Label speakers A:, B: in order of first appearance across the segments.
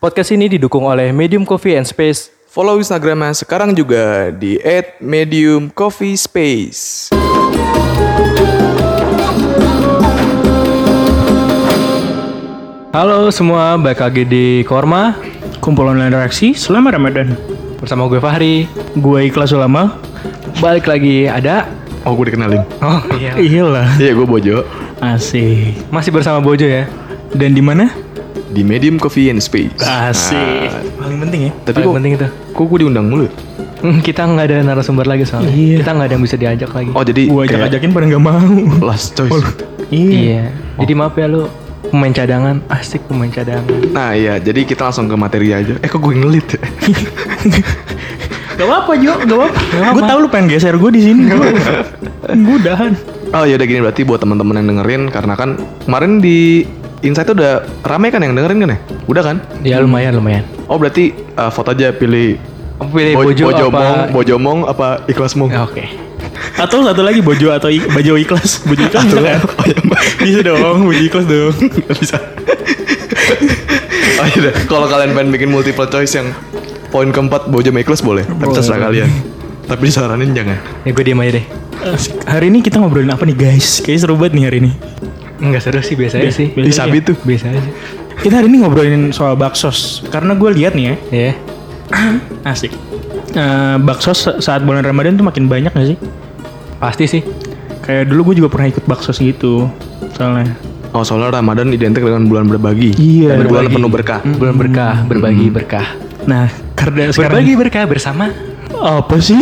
A: Podcast ini didukung oleh Medium Coffee and Space.
B: Follow Instagramnya sekarang juga di @mediumcoffeespace.
A: Halo semua, balik lagi di Korma
C: Kumpul online reaksi selama Ramadan.
A: bersama gue Fahri.
C: Gue ikhlas ulama.
A: Balik lagi ada
B: Oh, gue dikenalin.
A: Oh iya.
C: Iya lah.
B: Iya, gue Bojo
C: Asik.
A: Masih bersama Bojo ya.
C: Dan di mana?
B: di Medium Coffee and Space.
C: Asik.
A: Ah,
C: Paling penting ya.
B: Tapi
A: Paling
B: kok,
A: penting itu.
B: kok gue diundang mulu? ya?
A: Hmm, Kita nggak ada narasumber lagi soalnya.
C: Iya.
A: Kita nggak ada yang bisa diajak lagi.
B: Oh, jadi kayak
C: Gue ajak-ajakin pada nggak mau.
B: last choice.
C: Iya.
A: Iya. Jadi maaf ya lu pemain cadangan, asik pemain cadangan.
B: Nah, iya, jadi kita langsung ke materi aja. Eh, kok gue ngelit ya?
C: Gak apa-apa Jo, gak apa-apa. Gue tau lu pengen geser gue di sini. Gue udahan.
B: Oh, yaudah gini berarti buat teman-teman yang dengerin karena kan kemarin di Insight tuh udah rame kan yang dengerin kan ya? Udah kan?
A: Ya lumayan lumayan.
B: Oh, berarti eh, vote aja pilih
A: Pilih
B: Bo-
A: Bojo,
B: Bojo Mong,
A: apa?
B: Bojo Mong apa Ikhlas Mong?
A: Ya, Oke.
C: Atau satu lagi Bojo atau ik Bojo ikhlas. Bojo ikhlas bisa kan? bisa dong, Bojo ikhlas dong.
B: Gak bisa. oh, iya. Kalau kalian pengen bikin multiple choice yang poin keempat Bojo sama Ikhlas boleh. Tapi
C: Boleh.
B: terserah kalian. Tapi disaranin jangan.
A: Ya gue diem aja deh.
C: Asik. Hari ini kita ngobrolin apa nih guys? Kayaknya seru banget nih hari ini.
A: Enggak seru sih biasa aja
C: Biasa-
A: sih.
C: biasa
B: Disabi tuh.
A: Biasa aja.
C: Kita hari ini ngobrolin soal baksos. Karena gue lihat nih ya,
A: Ya.
C: Asik. Eh, baksos sa- saat bulan Ramadan tuh makin banyak gak sih?
A: Pasti sih.
C: Kayak dulu gue juga pernah ikut baksos gitu. Soalnya.
B: Oh, soalnya Ramadan identik dengan bulan berbagi.
C: Iya,
B: Dan bulan
C: berbagi.
B: penuh berkah.
A: Bulan berkah, berbagi berkah.
C: Nah, karena sekarang
A: Berbagi berkah bersama.
C: apa sih?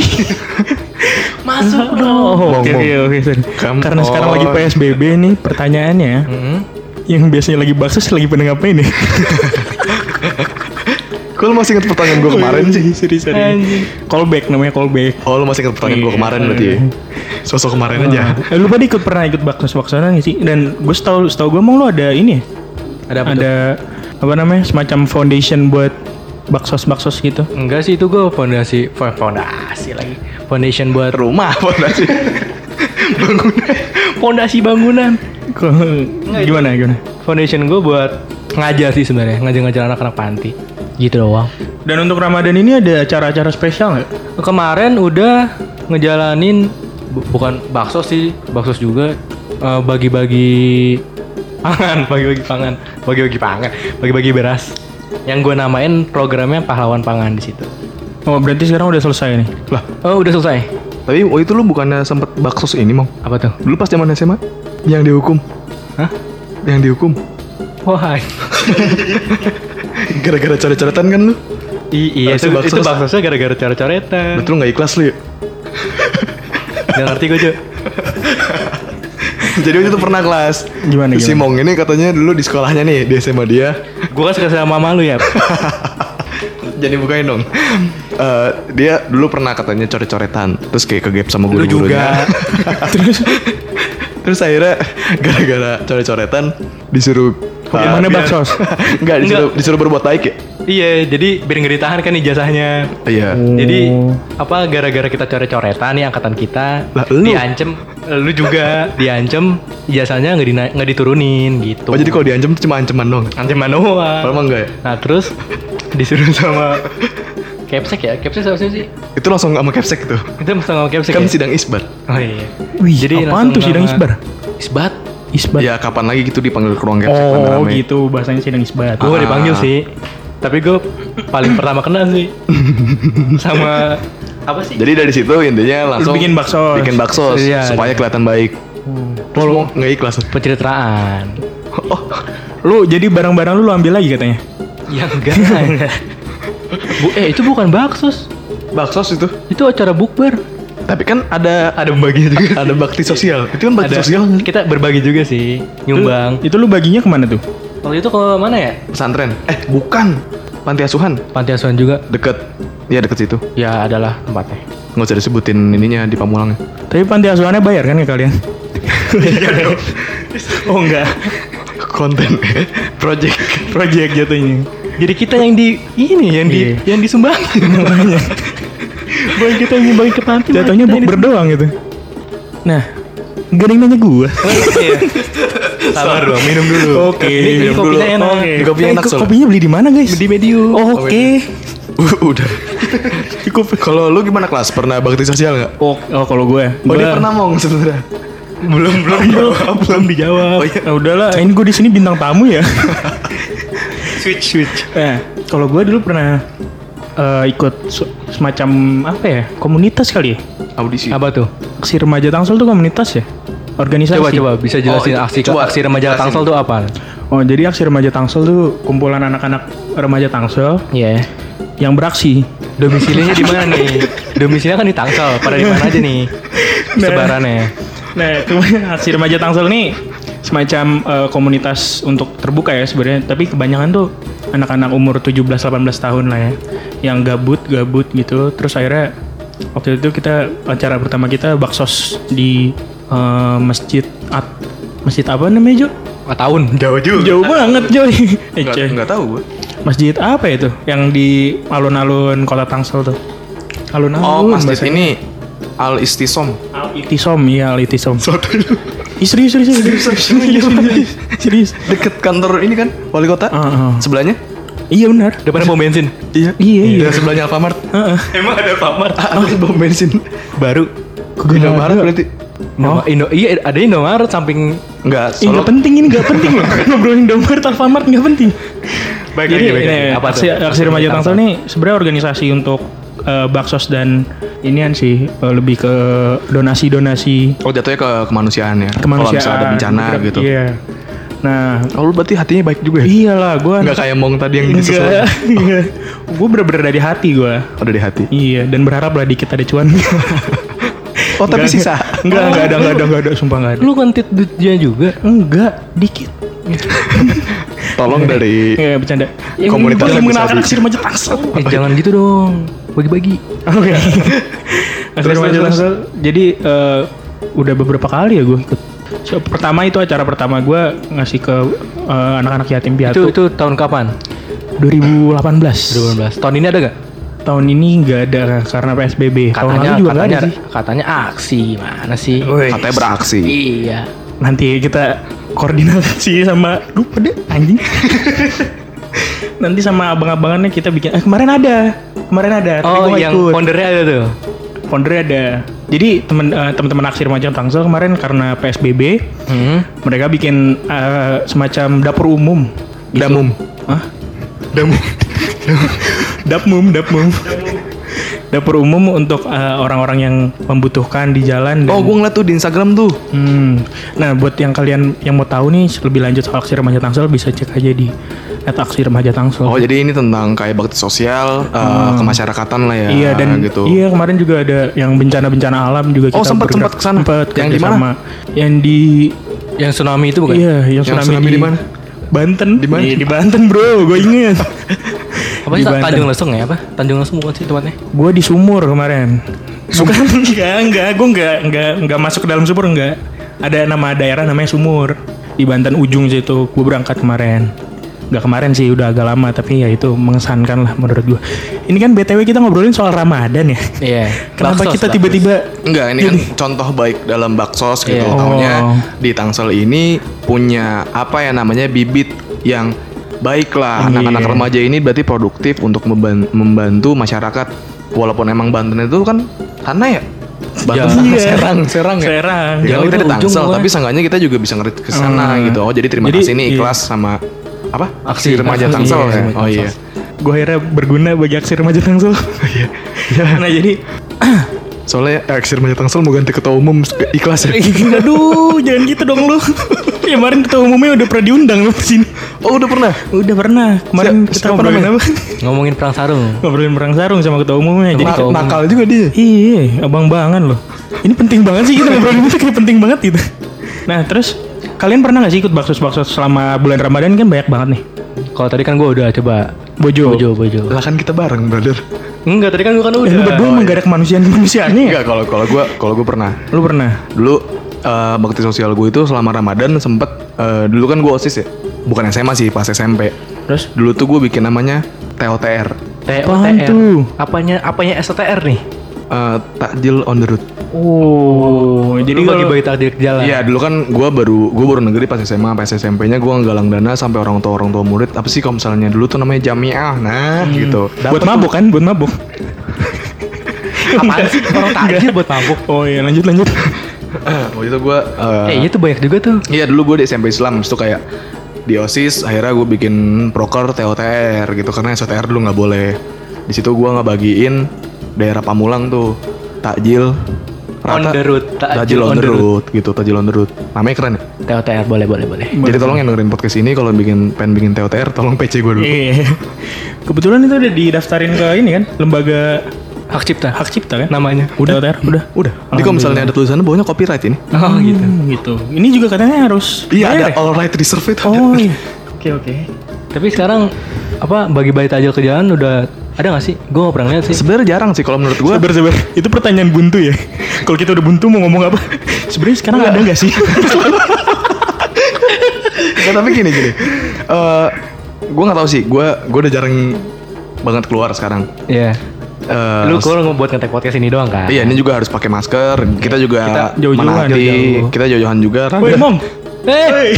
A: Masuk
C: Oh,
B: Bong,
C: oke
B: bong.
C: oke oke. sorry.
B: Come
C: Karena sekarang lagi
B: on.
C: PSBB nih, pertanyaannya ya.
A: Hmm.
C: yang biasanya lagi baksos lagi pada ngapain ya? nih?
B: Kok lu masih inget pertanyaan gue kemarin sih?
C: sorry sorry.
A: Anjing.
C: Callback namanya callback.
B: Oh, lu masih inget pertanyaan
C: Iya.
B: gue kemarin berarti ya? Sosok kemarin aja.
C: Eh, lu pada ikut pernah ikut baksos baksonan gak sih? Dan gue setahu setahu gue emang lu ada ini ya?
A: Ada apa tuh?
C: ada apa namanya semacam foundation buat baksos baksos gitu
A: Enggak sih itu gue fondasi fo- fondasi lagi. Foundation buat
B: Rumah apa sih?
A: fondasi bangunan.
C: Kok- gimana gimana
A: Foundation gue buat ngajar sih sebenarnya, ngajar-ngajar anak-anak panti. Gitu doang.
C: dan untuk ramadan ini ada acara-acara spesial nggak
A: Kemarin udah ngejalanin bu- bukan bakso sih, bakso juga eh, bagi-bagi pangan, bagi-bagi pangan, bagi-bagi pangan, bagi-bagi beras. Yang gue namain programnya pahlawan pangan di situ.
C: oh berarti sekarang udah selesai nih
B: lah,
A: Oh udah selesai.
B: tapi waktu itu lu bukannya sempet baksos ini, Mong?
A: Apa tuh?
B: Dulu pas zaman SMA? Yang dihukum.
A: Hah?
B: Yang dihukum.
A: Wah.
B: Gara-gara coret-coretan kan lu?
A: I- iya itu,
B: Harusnya baksos.
A: itu baksosnya gara-gara coret-coretan.
B: Betul nggak ikhlas lu ya?
A: Gak ngerti gue Jo.
B: Jadi waktu itu pernah kelas.
C: Gimana,
B: Si
C: gimana?
B: Mong ini katanya dulu di sekolahnya nih, di SMA dia.
A: Gue kan suka sama mama lu ya.
B: Jadi bukain dong. Eh, dia dulu pernah katanya coret-coretan, terus kayak kegep sama
A: Lu
B: guru-gurunya.
A: juga.
B: Terus akhirnya gara-gara coret-coretan disuruh
C: Hukumannya
B: biar-
C: baksos.
B: Enggak, disuruh
A: Enggak.
B: disuruh berbuat baik ya.
A: iya, jadi biar nggak ditahan kan ijazahnya.
B: Iya.
A: Jadi apa gara-gara kita coret-coretan nih angkatan kita
B: Lah, lu.
A: diancem lu juga diancem ijazahnya nggak dina- nggak diturunin gitu.
B: Oh, jadi kalau diancam tuh cuma ancaman dong.
A: anceman doang.
B: Kalau emang enggak ya?
A: Nah, terus disuruh sama Capsek ya? Capsek siapa sih?
B: Itu langsung sama capsek itu.
A: Kita mesti sama Capsek
B: Kan
A: ya?
B: sidang isbat.
A: Oh iya.
C: Wih, apaan
A: langsung
C: tuh sidang
A: sama-
C: isbat?
A: Isbat?
C: isbat
B: Ya kapan lagi gitu dipanggil ke ruang capsek
C: oh
B: rame-rame.
C: gitu bahasanya sidang isbat
A: Gue
B: Ah.
A: dipanggil sih. Tapi gue paling pertama kena sih. sama apa sih?
B: Jadi dari situ intinya langsung
C: bikin baksos.
B: bikin baksos
A: Iya. Hmm.
B: supaya kelihatan baik. Terus mau nggak ikhlas?
A: pencitraan.
B: Oh,
C: lu jadi barang-barang lu lu ambil lagi katanya
A: Ya enggak. Bu, eh itu bukan baksos.
B: baksos itu.
A: Itu acara bukber.
B: Tapi kan ada
A: Ada bagi juga.
B: ada bakti sosial. Itu kan bakti
A: Ada.
B: sosial kan?
A: Kita berbagi juga sih,
C: Lu-
A: nyumbang.
C: itu lu baginya kemana tuh
A: Waktu itu ke mana ya?
B: pesantren. Eh, bukan. Panti asuhan
A: Panti asuhan juga.
B: deket. Ya deket situ.
A: Ya adalah tempatnya.
B: Nggak usah disebutin ininya di Pamulang.
C: tapi panti asuhannya bayar kan ke kalian oh enggak
B: Konten project.
C: project jatuhnya
A: Jadi kita yang di ini yang di yang disumbangin Iya. namanya. Bukan kita yang nyumbangin ke panti.
C: jatuhnya
A: malah kita yang
C: bukber doang gitu nah gak ada yang nanya gue
A: disumbangin. Iya. Sabar dong, minum dulu.
C: Oke,
A: Ini, ini
C: minum
A: kopinya
C: dulu.
A: enak. Oh.
C: Oke.
A: Ini
B: kopinya
C: Eh,
B: enak,
C: ko-
B: soalnya.
C: Kopinya beli di mana guys? Oh,
A: Di medium.
C: Oke.
B: Udah. Cukup. Kalau lu gimana kelas? Pernah bakti sosial nggak?
C: Oh, oh, kalau gue,
B: Oh
C: Gua-
B: dia pernah mong sebenarnya.
A: Belum belum jawab, belum dijawab.
B: Oh, iya.
C: Nah, udahlah, ini gue di sini bintang tamu ya.
A: Switch switch.
C: eh, kalau gue dulu pernah eh, ikut se- semacam apa ya? Komunitas kali ya?
B: Audisi.
A: Apa tuh?
C: Si remaja Tangsel tuh komunitas ya? Organisasi.
A: Coba coba bisa jelasin
B: Oh,
A: aksi
B: coba.
A: aksi remaja
B: Jelasin.
A: Tangsel tuh apa?
C: Oh, jadi aksi remaja Tangsel tuh kumpulan anak-anak remaja Tangsel
A: Iya.
C: yang beraksi.
A: Domisilinya di mana nih? Domisilinya kan di Tangsel. Pada di mana aja nih? Sebarannya.
C: Nah, itu aksi remaja Tangsel nih semacam eh, komunitas untuk terbuka ya sebenarnya, tapi kebanyakan tuh anak-anak umur 17-18 tahun lah ya yang gabut-gabut gitu. Terus akhirnya waktu itu kita acara pertama kita baksos di eh, masjid At- masjid apa namanya, Jo?
A: Ah, tahun.
B: Jauh juga.
C: Jauh banget, Joy. Eh,
B: Nggak,
C: Coy.
B: nggak tahu gue.
C: Masjid apa itu? Yang di alun-alun Kota Tangsel tuh. Alun-alun.
B: Oh, masjid
C: bahasanya.
B: ini Al Istisom.
C: Al-Itisom, iya Al-Itisom.
B: Suatu itu
C: Ih, serius, serius, serius, serius, serius, serius, serius.
B: deket kantor ini kan wali kota.
C: Ah, ah.
B: Sebelahnya?
C: Iya benar.
A: Depannya pom bensin.
B: Iya.
C: Iya, iya.
B: Iya, sebelahnya Alfamart.
C: Heeh. Ah, iya.
A: Emang ada pamar
B: Ada Ah, bom bensin.
A: baru.
B: Indomaret
C: Oh.
B: berarti.
A: Indoma- Indo, iya ada Indomaret samping
B: Enggak,
C: Ih, nggak
B: Solo.
C: penting ini, nggak penting loh. Ngobrolin Indomaret, Alfamart nggak penting.
A: Baik,
C: Jadi,
A: baik, baik,
C: ini,
A: baik. Apa
C: aksi,
A: tuh?
C: aksi remaja Tangsel nih sebenarnya organisasi untuk eh, baksos dan inian sih eh, lebih ke donasi-donasi
B: Oh, jatuhnya ke kemanusiaan ya. Kalau
C: kemanusiaan.
B: misalnya ada bencana
C: bergerak-
B: gitu.
C: Iya. Nah,
B: Oh, lu berarti hatinya baik juga ya?
C: iyalah gue
B: Enggak kayak gitu, Mong tadi yang
C: Enggak,
B: sesuai.
C: enggak. Gue Iya. bener-bener dari hati gue.
B: Udah di hati.
C: Iya, dan berharap lah dikit ada cuan.
B: Oh, tapi sisa.
C: Enggak, enggak ada, enggak ada, enggak ada, sumpah enggak ada.
A: Lu ngentit duitnya juga.
C: Enggak, dikit.
B: Tolong dari
C: Enggak, bercanda.
B: Komunitas
C: yang
B: yang
C: mengenalkan
B: Iya. bisa
C: aksi remaja tangsel.
A: Eh, jangan gitu dong. Bagi-bagi.
C: Oke. Aksi
B: Terus,
C: remaja
B: terus, terus.
C: tangsel. Jadi eh, udah beberapa kali ya gue ikut. So, pertama itu acara pertama gue ngasih ke eh, anak-anak yatim
A: Itu
C: piatu
A: itu tahun kapan?
C: 2018.
A: 2018. Tahun ini ada gak?
C: Tahun ini nggak ada kan, karena PSBB. Ya, Tahun lalu
A: Katanya
C: juga nggak
A: katanya
C: ada sih. Oh.
A: katanya aksi mana sih?
B: katanya beraksi.
A: Iya.
C: nanti kita koordinasi sama lupa deh anjing nanti sama abang-abangannya kita bikin eh kemarin ada kemarin ada tapi
A: Oh,
C: gua nggak
A: yang
C: ikut.
A: pondernya ada tuh.
C: Founder ada jadi temen eh, teman-teman aksi remaja Tangsel kemarin karena PSBB
A: Hmm.
C: mereka bikin eh, semacam dapur umum
B: Damum.
C: Hah?
B: Damum.
C: dapmum dapmum dapur umum untuk eh, orang-orang yang membutuhkan di jalan dan-
B: Oh, gua ngeliat tuh di Instagram tuh.
C: Hmm. Nah, buat yang kalian yang mau tahu nih lebih lanjut soal aksi remaja Tangsel bisa cek aja di at aksi remaja Tangsel.
B: Oh, jadi ini tentang kayak bakti sosial, eh, kemasyarakatan lah ya.
C: Hmm. iya dan
B: gitu.
C: iya kemarin juga ada yang bencana-bencana alam juga
B: Oh,
C: kita
B: sempet- sempet
C: bergerak-
B: kesana.
C: sempet
B: Yang di
C: kerjasama. Yang di
A: Yang tsunami itu bukan?
C: iya yang,
B: Yang tsunami di mana?
C: Banten.
B: Di mana?
C: Di, di Banten, Bro. Gue inget.
A: Apa sih
C: Di Banten.
A: Tanjung Lesung ya apa? Tanjung Lesung bukan sih tempatnya?
C: gue di sumur kemarin. Bukan enggak, enggak, gue enggak, enggak, enggak masuk ke dalam sumur enggak. Ada nama daerah namanya Sumur di Banten ujung situ. Gue berangkat kemarin. Enggak kemarin sih, udah agak lama tapi ya itu mengesankan lah menurut gue. Ini kan BTW kita ngobrolin soal Ramadan ya.
A: Iya.
C: Kenapa
A: Baksos,
C: kita
A: baksos.
C: tiba-tiba
B: Enggak, ini kan contoh baik dalam baksos gitu.
A: Iya.
B: Taunya
C: Oh.
B: di Tangsel ini punya apa ya namanya bibit yang baik lah. Anak-anak
C: Iya.
B: remaja ini berarti produktif untuk memban- membantu masyarakat. Walaupun emang Banten itu kan tanah ya. Banten
A: Jauh.
B: sama
C: Iya.
B: Serang, Serang ya.
C: Serang?
B: Ya,
A: Jauh
B: kita
A: tuh
B: di
A: ujung
B: Tangsel,
A: gua.
B: tapi seenggaknya kita juga bisa ngerit ke sana
C: Hmm.
B: gitu. Oh, jadi terima
C: Jadi,
B: kasih nih
C: iya.
B: ikhlas sama apa?
A: Aksi,
B: remaja
A: aksi, iya,
B: Tangsel ya.
A: remaja
B: Oh
A: Tangsel.
B: iya.
C: Gue akhirnya berguna bagi aksi remaja Tangsel. nah jadi
B: Soalnya eh, aksi remaja Tangsel mau ganti ketua umum ke- ikhlas ya.
C: Iya. aduh jangan gitu dong lu ya kemarin ketua umumnya udah pernah diundang lu kesini
B: Oh, udah pernah.
C: udah pernah kemarin
B: Siap-
C: kita
B: siapa
C: ngobrolin
B: namanya?
C: apa
A: Ngomongin perang sarung.
C: ngobrolin perang sarung sama ketua umumnya jadi
B: Na-
A: ketua umum.
B: nakal juga dia.
C: iya abang bangan loh ini penting banget sih kita ngobrolin itu kayak penting banget gitu nah terus kalian pernah nggak sih ikut baksos-baksos selama bulan ramadan kan banyak banget nih
A: Kalau tadi kan gua udah coba
C: bojo,
A: bojo bojo.
B: Lah kan kita bareng, brother.
A: Enggak, tadi kan gua kan
C: Eh,
A: udah.
C: lu berdua emang gak ada kemanusiaan kemanusiaannya ya
B: Enggak, kalau kalau gua kalau gua pernah.
C: lu pernah
B: Dulu eh, bakti sosial gue itu selama Ramadan sempet eh, dulu kan gue OSIS ya. Bukan SMA sih, pas SMP.
C: terus
B: Dulu tuh gue bikin namanya TOTR.
A: TOTR.
C: Apaan tuh?
A: Apanya apanya STR nih?
B: eh, takjil on the road.
C: Oh, jadi
A: Jadi
C: kalau
A: bagi-bagi takdir ke jalan.
B: Iya dulu kan gue baru gue baru negeri pas SMA pas SMP-nya gue nggalang dana sampai orang tua orang tua murid apa sih kalau misalnya dulu tuh namanya jamiah nah gitu.
C: buat mabuk kan, buat mabuk.
A: Apaan sih orang takdir buat mabuk?
C: Oh iya, lanjut lanjut.
B: Waktu itu gue
A: Eh iya tuh banyak juga tuh.
B: Iya dulu gue di SMP Islam, habis itu kayak di OSIS akhirnya gue bikin proker TOTR gitu karena SOTR dulu nggak boleh. Di situ gue ngebagiin daerah Pamulang tuh takjil
A: On the road,
B: takjil, on, the road. gitu takjil on the road. Namanya keren. ya?
A: TOTR boleh boleh boleh.
B: Jadi tolong yang dengerin podcast ini kalau bikin pengen bikin TOTR tolong PC gue dulu.
C: Iya. Kebetulan itu udah didaftarin ke ini kan, lembaga
A: Hak cipta.
C: hak cipta kan?
A: namanya.
C: Udah, Ter, udah.
B: Udah. Jadi kalau misalnya ada tulisannya bawahnya copyright ini.
A: Oh gitu.
C: Hmm, gitu. Ini juga katanya harus
B: Iya ada
C: bayar ya?
B: all right reserved. itu.
C: Oh iya. Oke, oke.
A: Tapi sekarang apa bagi-bagi takjil ke jalan udah ada nggak sih? Gue nggak pernah lihat sih.
B: Sebenarnya jarang sih kalau menurut gue.
C: Sabar, sabar. Itu pertanyaan buntu ya. Kalau kita udah buntu mau ngomong apa? Sebenarnya sekarang ada nggak sih?
B: Nggak, tapi gini gini. Eh gue nggak tahu sih. Gue gue udah jarang banget keluar sekarang.
A: Iya.
B: Eh,
A: Lu kalau ngebuat ngetek podcast ini doang kan?
B: Iya ini juga harus pakai masker. Kita juga
C: Kita
B: menanti,
C: jauh-jauhan, jauh-jauh.
B: kita jauh-jauhan juga. Rada-
C: Woi, Mom.
A: Eh,
C: Woi.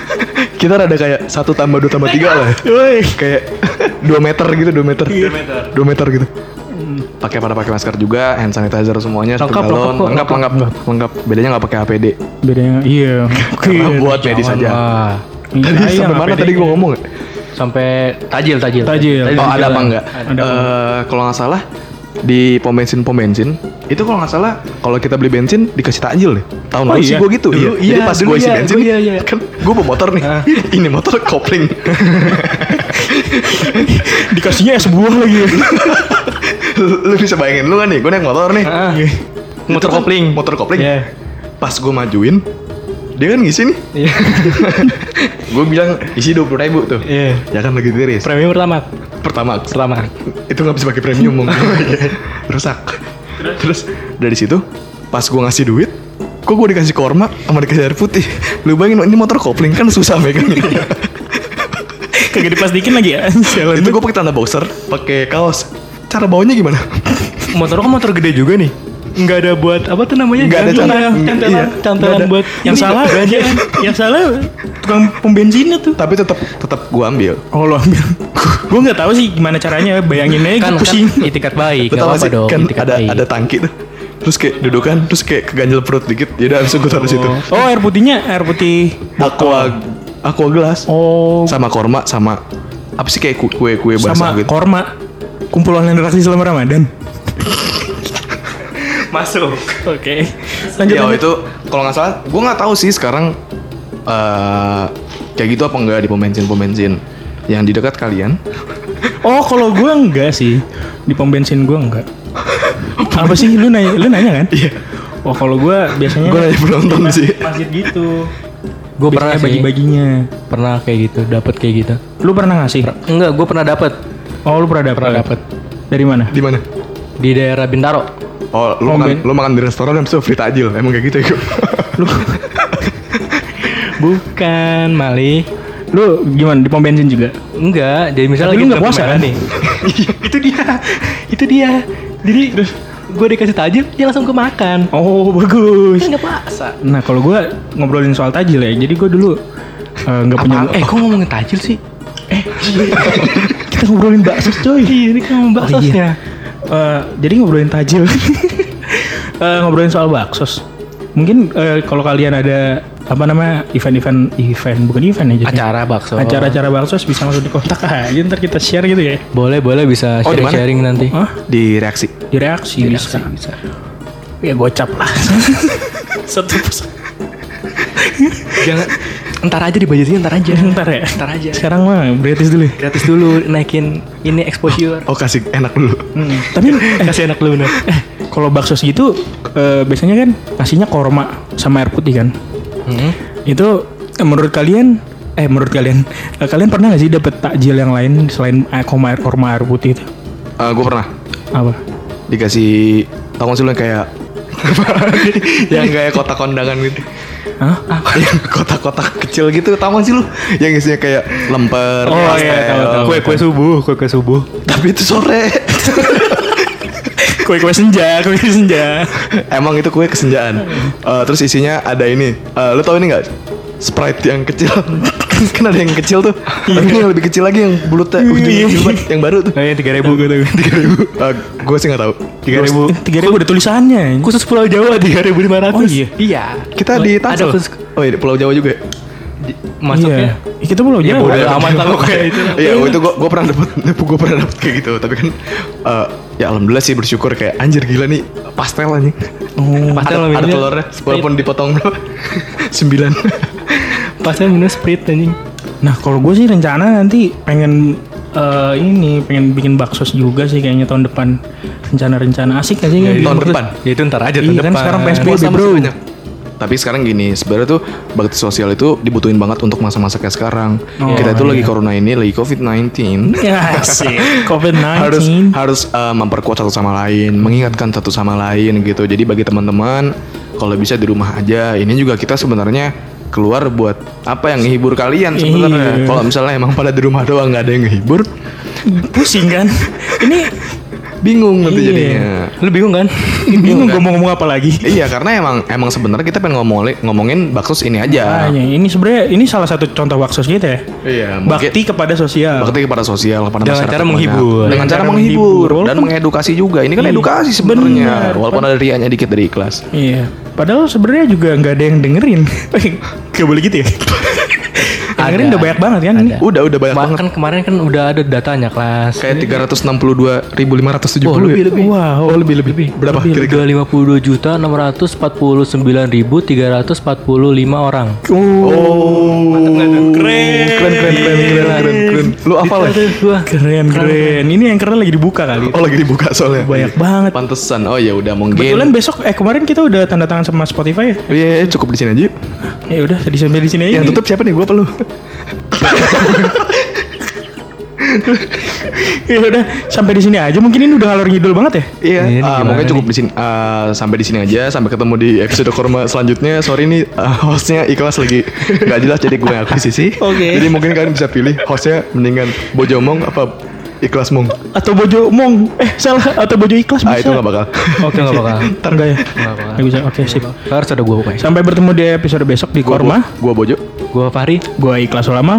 B: kita rada kayak satu tambah dua tambah tiga lah.
C: Woi. Iya.
B: Kayak dua meter gitu, dua meter. Dua meter. gitu. Pakai pada pakai masker juga, hand sanitizer semuanya, satu
A: Lengkap,
B: galon,
A: lengkap kok,
B: lengkap, lengkap, lengkap, Bedanya nggak pakai APD.
C: Bedanya iya.
B: Karena buat medis aja.
A: Ah,
B: Tadi sampai mana tadi
C: iya.
B: gue ngomong? ya?
A: sampai tajil tajil. di
B: Oh
C: Tajil.
B: ada apa
A: jalan.
B: enggak? Eh, kalau nggak salah di pom bensin pom bensin itu kalau nggak salah kalau kita beli bensin dikasih takjil deh tahun
C: Oh,
B: lalu
C: iya?
B: sih gue gitu
A: Dulu
B: iya. jadi
A: iya,
B: pas
A: dulu
B: gue isi
A: iya,
B: bensin
A: gua iya, Ah. iya.
B: kan gue bawa motor nih ini motor kopling
C: Dikasihnya es buah lagi.
B: lu bisa bayangin lu kan nih gue naik motor nih Iya.
A: Ah,
B: Itu
A: motor
B: kan
A: kopling.
B: motor kopling
A: Iya.
B: pas gue majuin dia kan ngisi nih
A: Iya.
B: gue bilang isi dua puluh ribu tuh
A: Iya.
B: ya kan lagi tiris
A: Premium pertama.
B: pertama
A: Pertama.
B: itu nggak bisa pakai premium mong rusak terus dari situ pas gua ngasih duit kok gua dikasih korma sama dikasih air putih lu bayangin ini motor kopling kan susah megangnya
C: Kagak diplastikin lagi ya. Sialan
B: itu gua pakai tanda boxer pakai kaos cara bawanya gimana
A: Motor kok motor gede juga nih. Enggak ada buat apa tuh namanya?
B: Nggak ada
C: ya?
A: Gantungan,
B: cantelan.
A: cantelan,
B: Iya.
A: cantelan
B: Nggak ada.
A: buat
C: yang
A: ini.
C: salah belanjaan. yang salah tukang pom bensinnya tuh.
B: tapi tetap tetap gua ambil
C: Oh lo ambil. gue nggak tahu sih gimana caranya
A: kan
C: bayanginnya kan,
A: kan
C: pusing.
A: itikat baik
B: Lu
A: nggak
B: tau
A: apa
B: gak sih
A: dong
B: kan
A: itikat
B: ada
A: baik
B: ada tangki tuh terus kayak dudukan terus kayak keganjel perut dikit jadi langsung gua taruh situ
C: Oh air putihnya air putih.
B: aqua aqua gelas
C: Oh
B: sama korma sama apa sih kayak ku- kue kue basah
C: sama
B: gitu
C: korma. Kumpulan online reaksi selama Ramadan.
A: masuk
C: Oke. Lanjut
B: ya
C: lanjut.
B: itu kalau nggak salah, gue nggak tahu sih sekarang eh kayak gitu apa enggak di pom bensin pom bensin yang di dekat kalian.
C: Oh kalau gue enggak sih di pom bensin gue enggak. Apa sih lu nanya lu nanya kan? Iya. Oh kalau gue biasanya
B: Gue nanya penonton sih.
C: masjid gitu.
A: gue pernah
C: Biasanya
A: sih
C: bagi-baginya.
A: pernah kayak gitu dapat kayak gitu
C: Lu pernah ngasih?
A: enggak gue pernah dapat
C: Oh lu pernah dapet?
A: Pernah dapet.
C: Dari mana?
B: Di mana?
A: di daerah Bintaro
B: Oh, lu
C: Pom
B: makan
C: ben-
B: lu makan di restoran habis itu free takjil. Emang kayak gitu ya? Gu?
A: bukan Mali
C: Lu gimana di pom bensin juga?
A: enggak jadi misalnya
C: Tapi lu nggak
A: lampu
C: puasa,
A: merah
C: kan?
A: nih itu dia itu dia jadi gue dikasih tajil dia langsung kemakan
C: Oh bagus.
A: kan nggak puasa
C: Nah kalau gue ngobrolin soal tajil ya, jadi gue dulu eh, nggak punya.
A: Apaan? eh kok ngomongin tajil sih
C: kita ngobrolin bakso coy.
A: iya ini kan ngomong
C: Oh, iya.
A: baksosnya
C: Eh, jadi ngobrolin tajil. Eh, ngobrolin soal baksos. Mungkin eh, kalau kalian ada apa namanya event-event event bukan event ya jadi
A: acara bakso
C: acara-acara baksos bisa langsung dikontak aja ntar kita share gitu ya.
A: boleh boleh bisa
B: Oh,
A: sharing
B: di mana?
A: sharing nanti
C: Hah?
B: Di reaksi.
C: Di reaksi, bisa.
A: bisa
C: Ya gocap lah. Satu persen.
A: jangan ntar aja dibajetin ntar aja
C: Ntar ya.
A: ntar aja
C: Sekarang mah gratis dulu. ya.
A: gratis dulu naikin ini exposure
B: Oh, kasih enak dulu.
C: Hmm. Tapi eh,
A: kasih enak dulu bener
C: kalau bakso segitu eh, biasanya kan ngasihnya korma sama air putih kan.
A: Hmm.
C: Itu eh, menurut kalian eh menurut kalian eh, kalian pernah nggak sih dapet takjil yang lain selain eh, korma air korma air putih itu?
B: Eh gue pernah
C: Apa?
B: dikasih tau gak sih lu yang kayak yang kayak kotak kondangan gitu.
C: Hah?
B: yang kotak-kotak kecil gitu tau gak sih lu yang isinya kayak lemper
C: Oh, iya,
B: pastel,
C: tahu, tahu.
A: kue kue subuh kue kue subuh
B: tapi itu sore
C: Kue-kue senja, kue senja.
B: Emang itu kue kesenjaan. Eh, terus isinya ada ini. Eh, lo tau ini nggak? Sprite yang kecil. kan, kan ada yang kecil tuh.
A: Iya.
B: Tapi ini yang lebih kecil lagi yang bulutnya ujungnya
C: Iya.
B: jilbab yang baru tuh.
A: Kayaknya tiga ribu gitu.
B: Tiga ribu. gue sih nggak tahu. Tiga
A: 3.000.
B: ribu.
C: Eh, Tiga ribu ada tulisannya.
A: Khusus Pulau Jawa tiga ribu lima ratus.
C: Oh, iya.
A: Iya.
B: Kita di Tangsel.
A: Ada khusus-
B: Oh iya, di Pulau Jawa juga. ya?
A: Masuknya.
C: Iya. Eh, Kita belum
A: Ya,
C: jawab.
A: bodoh amat lah pokoknya itu.
B: Iya, waktu itu gue gue pernah dapet, gue pernah dapet kayak gitu. Tapi kan, eh, ya alhamdulillah sih bersyukur kayak anjir gila nih pastel anjing.
A: Pastel
B: Ada, ada
A: minumnya
B: telurnya,
A: Sprite.
B: walaupun dipotong berapa? Sembilan.
A: Pastel minum Sprite anjing.
C: Nah kalau gue sih rencana nanti pengen eh, ini pengen bikin baksos juga sih kayaknya tahun depan rencana-rencana asik gak sih
B: Ya,
C: bikin
B: tahun
C: baksos?
B: depan.
A: Ya itu ntar aja
C: Iya, kan sekarang PSBB,
B: Puasa masih
C: bro.
B: banyak. Tapi sekarang gini, sebenarnya tuh bakti sosial itu dibutuhin banget untuk masa-masa kayak sekarang.
C: Oh,
B: Kita itu
C: iya.
B: lagi corona ini, lagi COVID-19.
C: Ya sih, COVID-19.
B: harus harus eh, memperkuat satu sama lain, mengingatkan satu sama lain gitu. Jadi bagi teman-teman kalau bisa di rumah aja. Ini juga kita sebenarnya keluar buat apa yang ngehibur kalian sebenarnya.
C: Iya.
B: Kalau misalnya emang pada di rumah doang nggak ada yang ngehibur,
C: Pusing kan? Ini
B: bingung nanti
C: Iya.
B: jadinya.
A: Lu bingung kan?
C: bingung gue mau ngomong apa lagi.
B: Iya, karena emang emang sebenarnya kita pengen ngomongin ngomongin baksos ini aja.
C: Makanya, ini sebenarnya ini salah satu contoh baksos kita ya.
B: Iya, mungkin-
C: Bakti kepada sosial.
B: bakti kepada sosial kepada
A: Dengan
B: masyarakat
A: cara
B: banyak.
A: menghibur.
B: dengan,
C: Dengan
B: cara,
C: cara
B: menghibur
C: menghibur.
B: dan mengedukasi juga ini kan
C: Iya,
B: edukasi sebenarnya
C: benar.
B: walaupun ada riaknya dikit dari ikhlas
C: Iya. Padahal sebenarnya juga nggak ada yang dengerin. Gak boleh gitu ya. Yang dengerin
A: Ada,
C: udah banyak banget kan ini.
B: udah udah banyak banget
A: Bahkan kemarin kan udah ada datanya kelas.
B: kayak
A: Oh,
B: 362.570
A: lebih,
B: ya?
A: lebih.
C: Wow.
B: Oh, lebih lebih. Berapa kira-kira?
A: Tiga lima puluh dua juta enam ratus empat puluh sembilan ribu tiga ratus empat puluh lima orang.
B: Oh, keren
C: Keren.
B: keren keren keren keren keren. keren. Lu hafal ya?
A: Gua.
C: Keren, keren. Ini yang keren lagi dibuka kali.
B: Oh, lagi dibuka soalnya.
C: Banyak banget.
B: Pantesan. Oh ya udah mungkin.
C: Kebetulan besok eh kemarin kita udah tanda tangan sama Spotify ya.
B: Iya, iya, cukup di sini aja. yuk.
C: Ya udah di sampai di sini aja.
B: Yang tutup siapa nih? Gua apa lu?
C: Ya udah sampai di sini aja. Mungkin ini udah ngalor ngidul banget ya.
B: Iya,
A: Ini
B: ah,
A: gimana
B: mungkin
A: nih?
B: cukup di sini ah, sampai di sini aja. Sampai ketemu di episode korma selanjutnya. Sorry nih ah, hostnya ikhlas lagi nggak jelas jadi gue ngaku sisi.
C: Oke.
B: Jadi mungkin kalian bisa pilih hostnya mendingan Bojomong apa Ikhlas Mong.
C: Atau bojo mong eh salah atau bojo ikhlas bisa.
B: Ah itu nggak bakal.
A: Oke nggak bakal.
C: Ntar enggak ya.
A: Nggak bakal.
C: Nggak bisa. Oke, sip.
A: Harus ada gua pokoknya.
C: Sampai bertemu di episode besok di
B: Gua-
C: Korma.
B: Gua Bojo.
A: Gua Fahri.
C: Gua Ikhlas Ulama.